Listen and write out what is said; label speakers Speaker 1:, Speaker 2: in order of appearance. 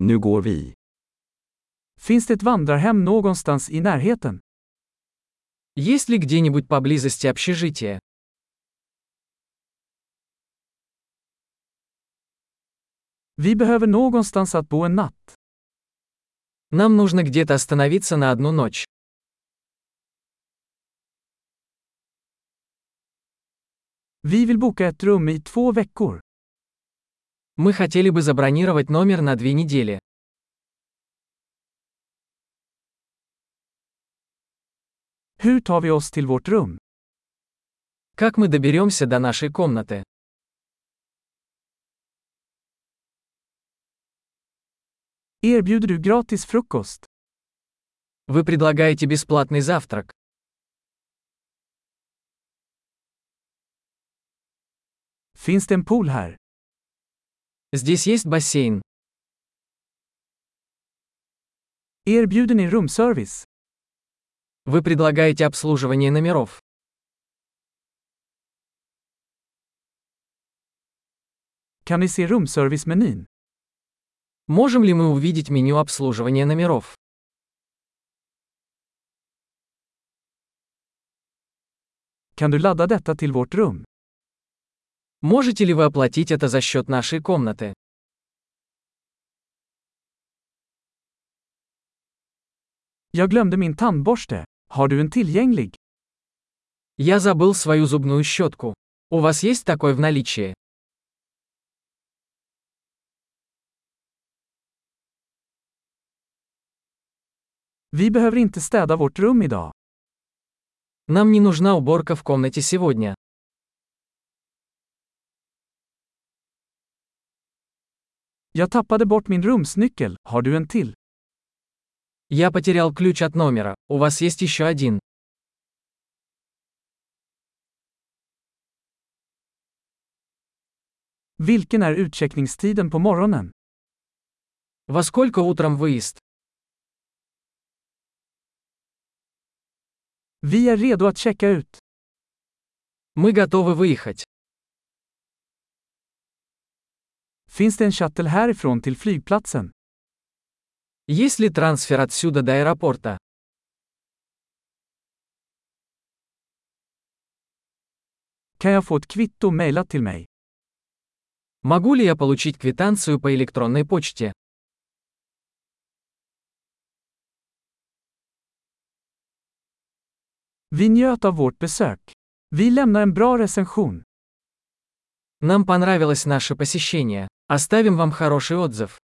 Speaker 1: Nu går vi.
Speaker 2: Finns det ett vandrarhem någonstans i närheten?
Speaker 3: Есть ли где-нибудь поблизости общежитие?
Speaker 2: Vi behöver någonstans att bo en natt.
Speaker 3: Нам нужно где-то остановиться на одну ночь.
Speaker 2: Vi vill boka ett rum i två veckor.
Speaker 3: Мы хотели бы забронировать номер на две недели.
Speaker 2: Hur tar vi oss till vårt rum?
Speaker 3: Как мы доберемся до нашей комнаты?
Speaker 2: Erbjuder du gratis frukost?
Speaker 3: Вы предлагаете бесплатный завтрак.
Speaker 2: Finns det en pool här?
Speaker 3: Здесь есть бассейн.
Speaker 2: Erbjuder ni rumservice?
Speaker 3: Вы предлагаете обслуживание номеров.
Speaker 2: Kan ni se rumservice-menyn?
Speaker 3: Можем ли мы увидеть меню обслуживания номеров?
Speaker 2: Kan du ladda detta till vårt rum?
Speaker 3: Можете ли вы оплатить это за счет нашей комнаты?
Speaker 2: Jag glömde min tandborste. Har du en tillgänglig?
Speaker 3: Я забыл свою зубную щетку. У вас есть такой в наличии?
Speaker 2: Vi behöver inte städa vårt rum idag.
Speaker 3: Нам не нужна уборка в комнате сегодня.
Speaker 2: Jag tappade bort min rumsnyckel. Har du en till?
Speaker 3: Я потерял ключ от номера. У вас есть еще один.
Speaker 2: Vilken är utcheckningstiden på morgonen?
Speaker 3: Во сколько утром выезд?
Speaker 2: Vi är redo att checka ut.
Speaker 3: Мы готовы выехать.
Speaker 2: Finns det en shuttle härifrån till flygplatsen?
Speaker 3: Есть ли трансфер отсюда до аэропорта?
Speaker 2: Kan jag få ett kvitto mejlat till mig?
Speaker 3: Могу ли я получить квитанцию по электронной почте?
Speaker 2: Vi njöt av vårt besök. Vi lämnar en bra recension.
Speaker 3: Нам понравилось наше посещение. Оставим вам хороший отзыв.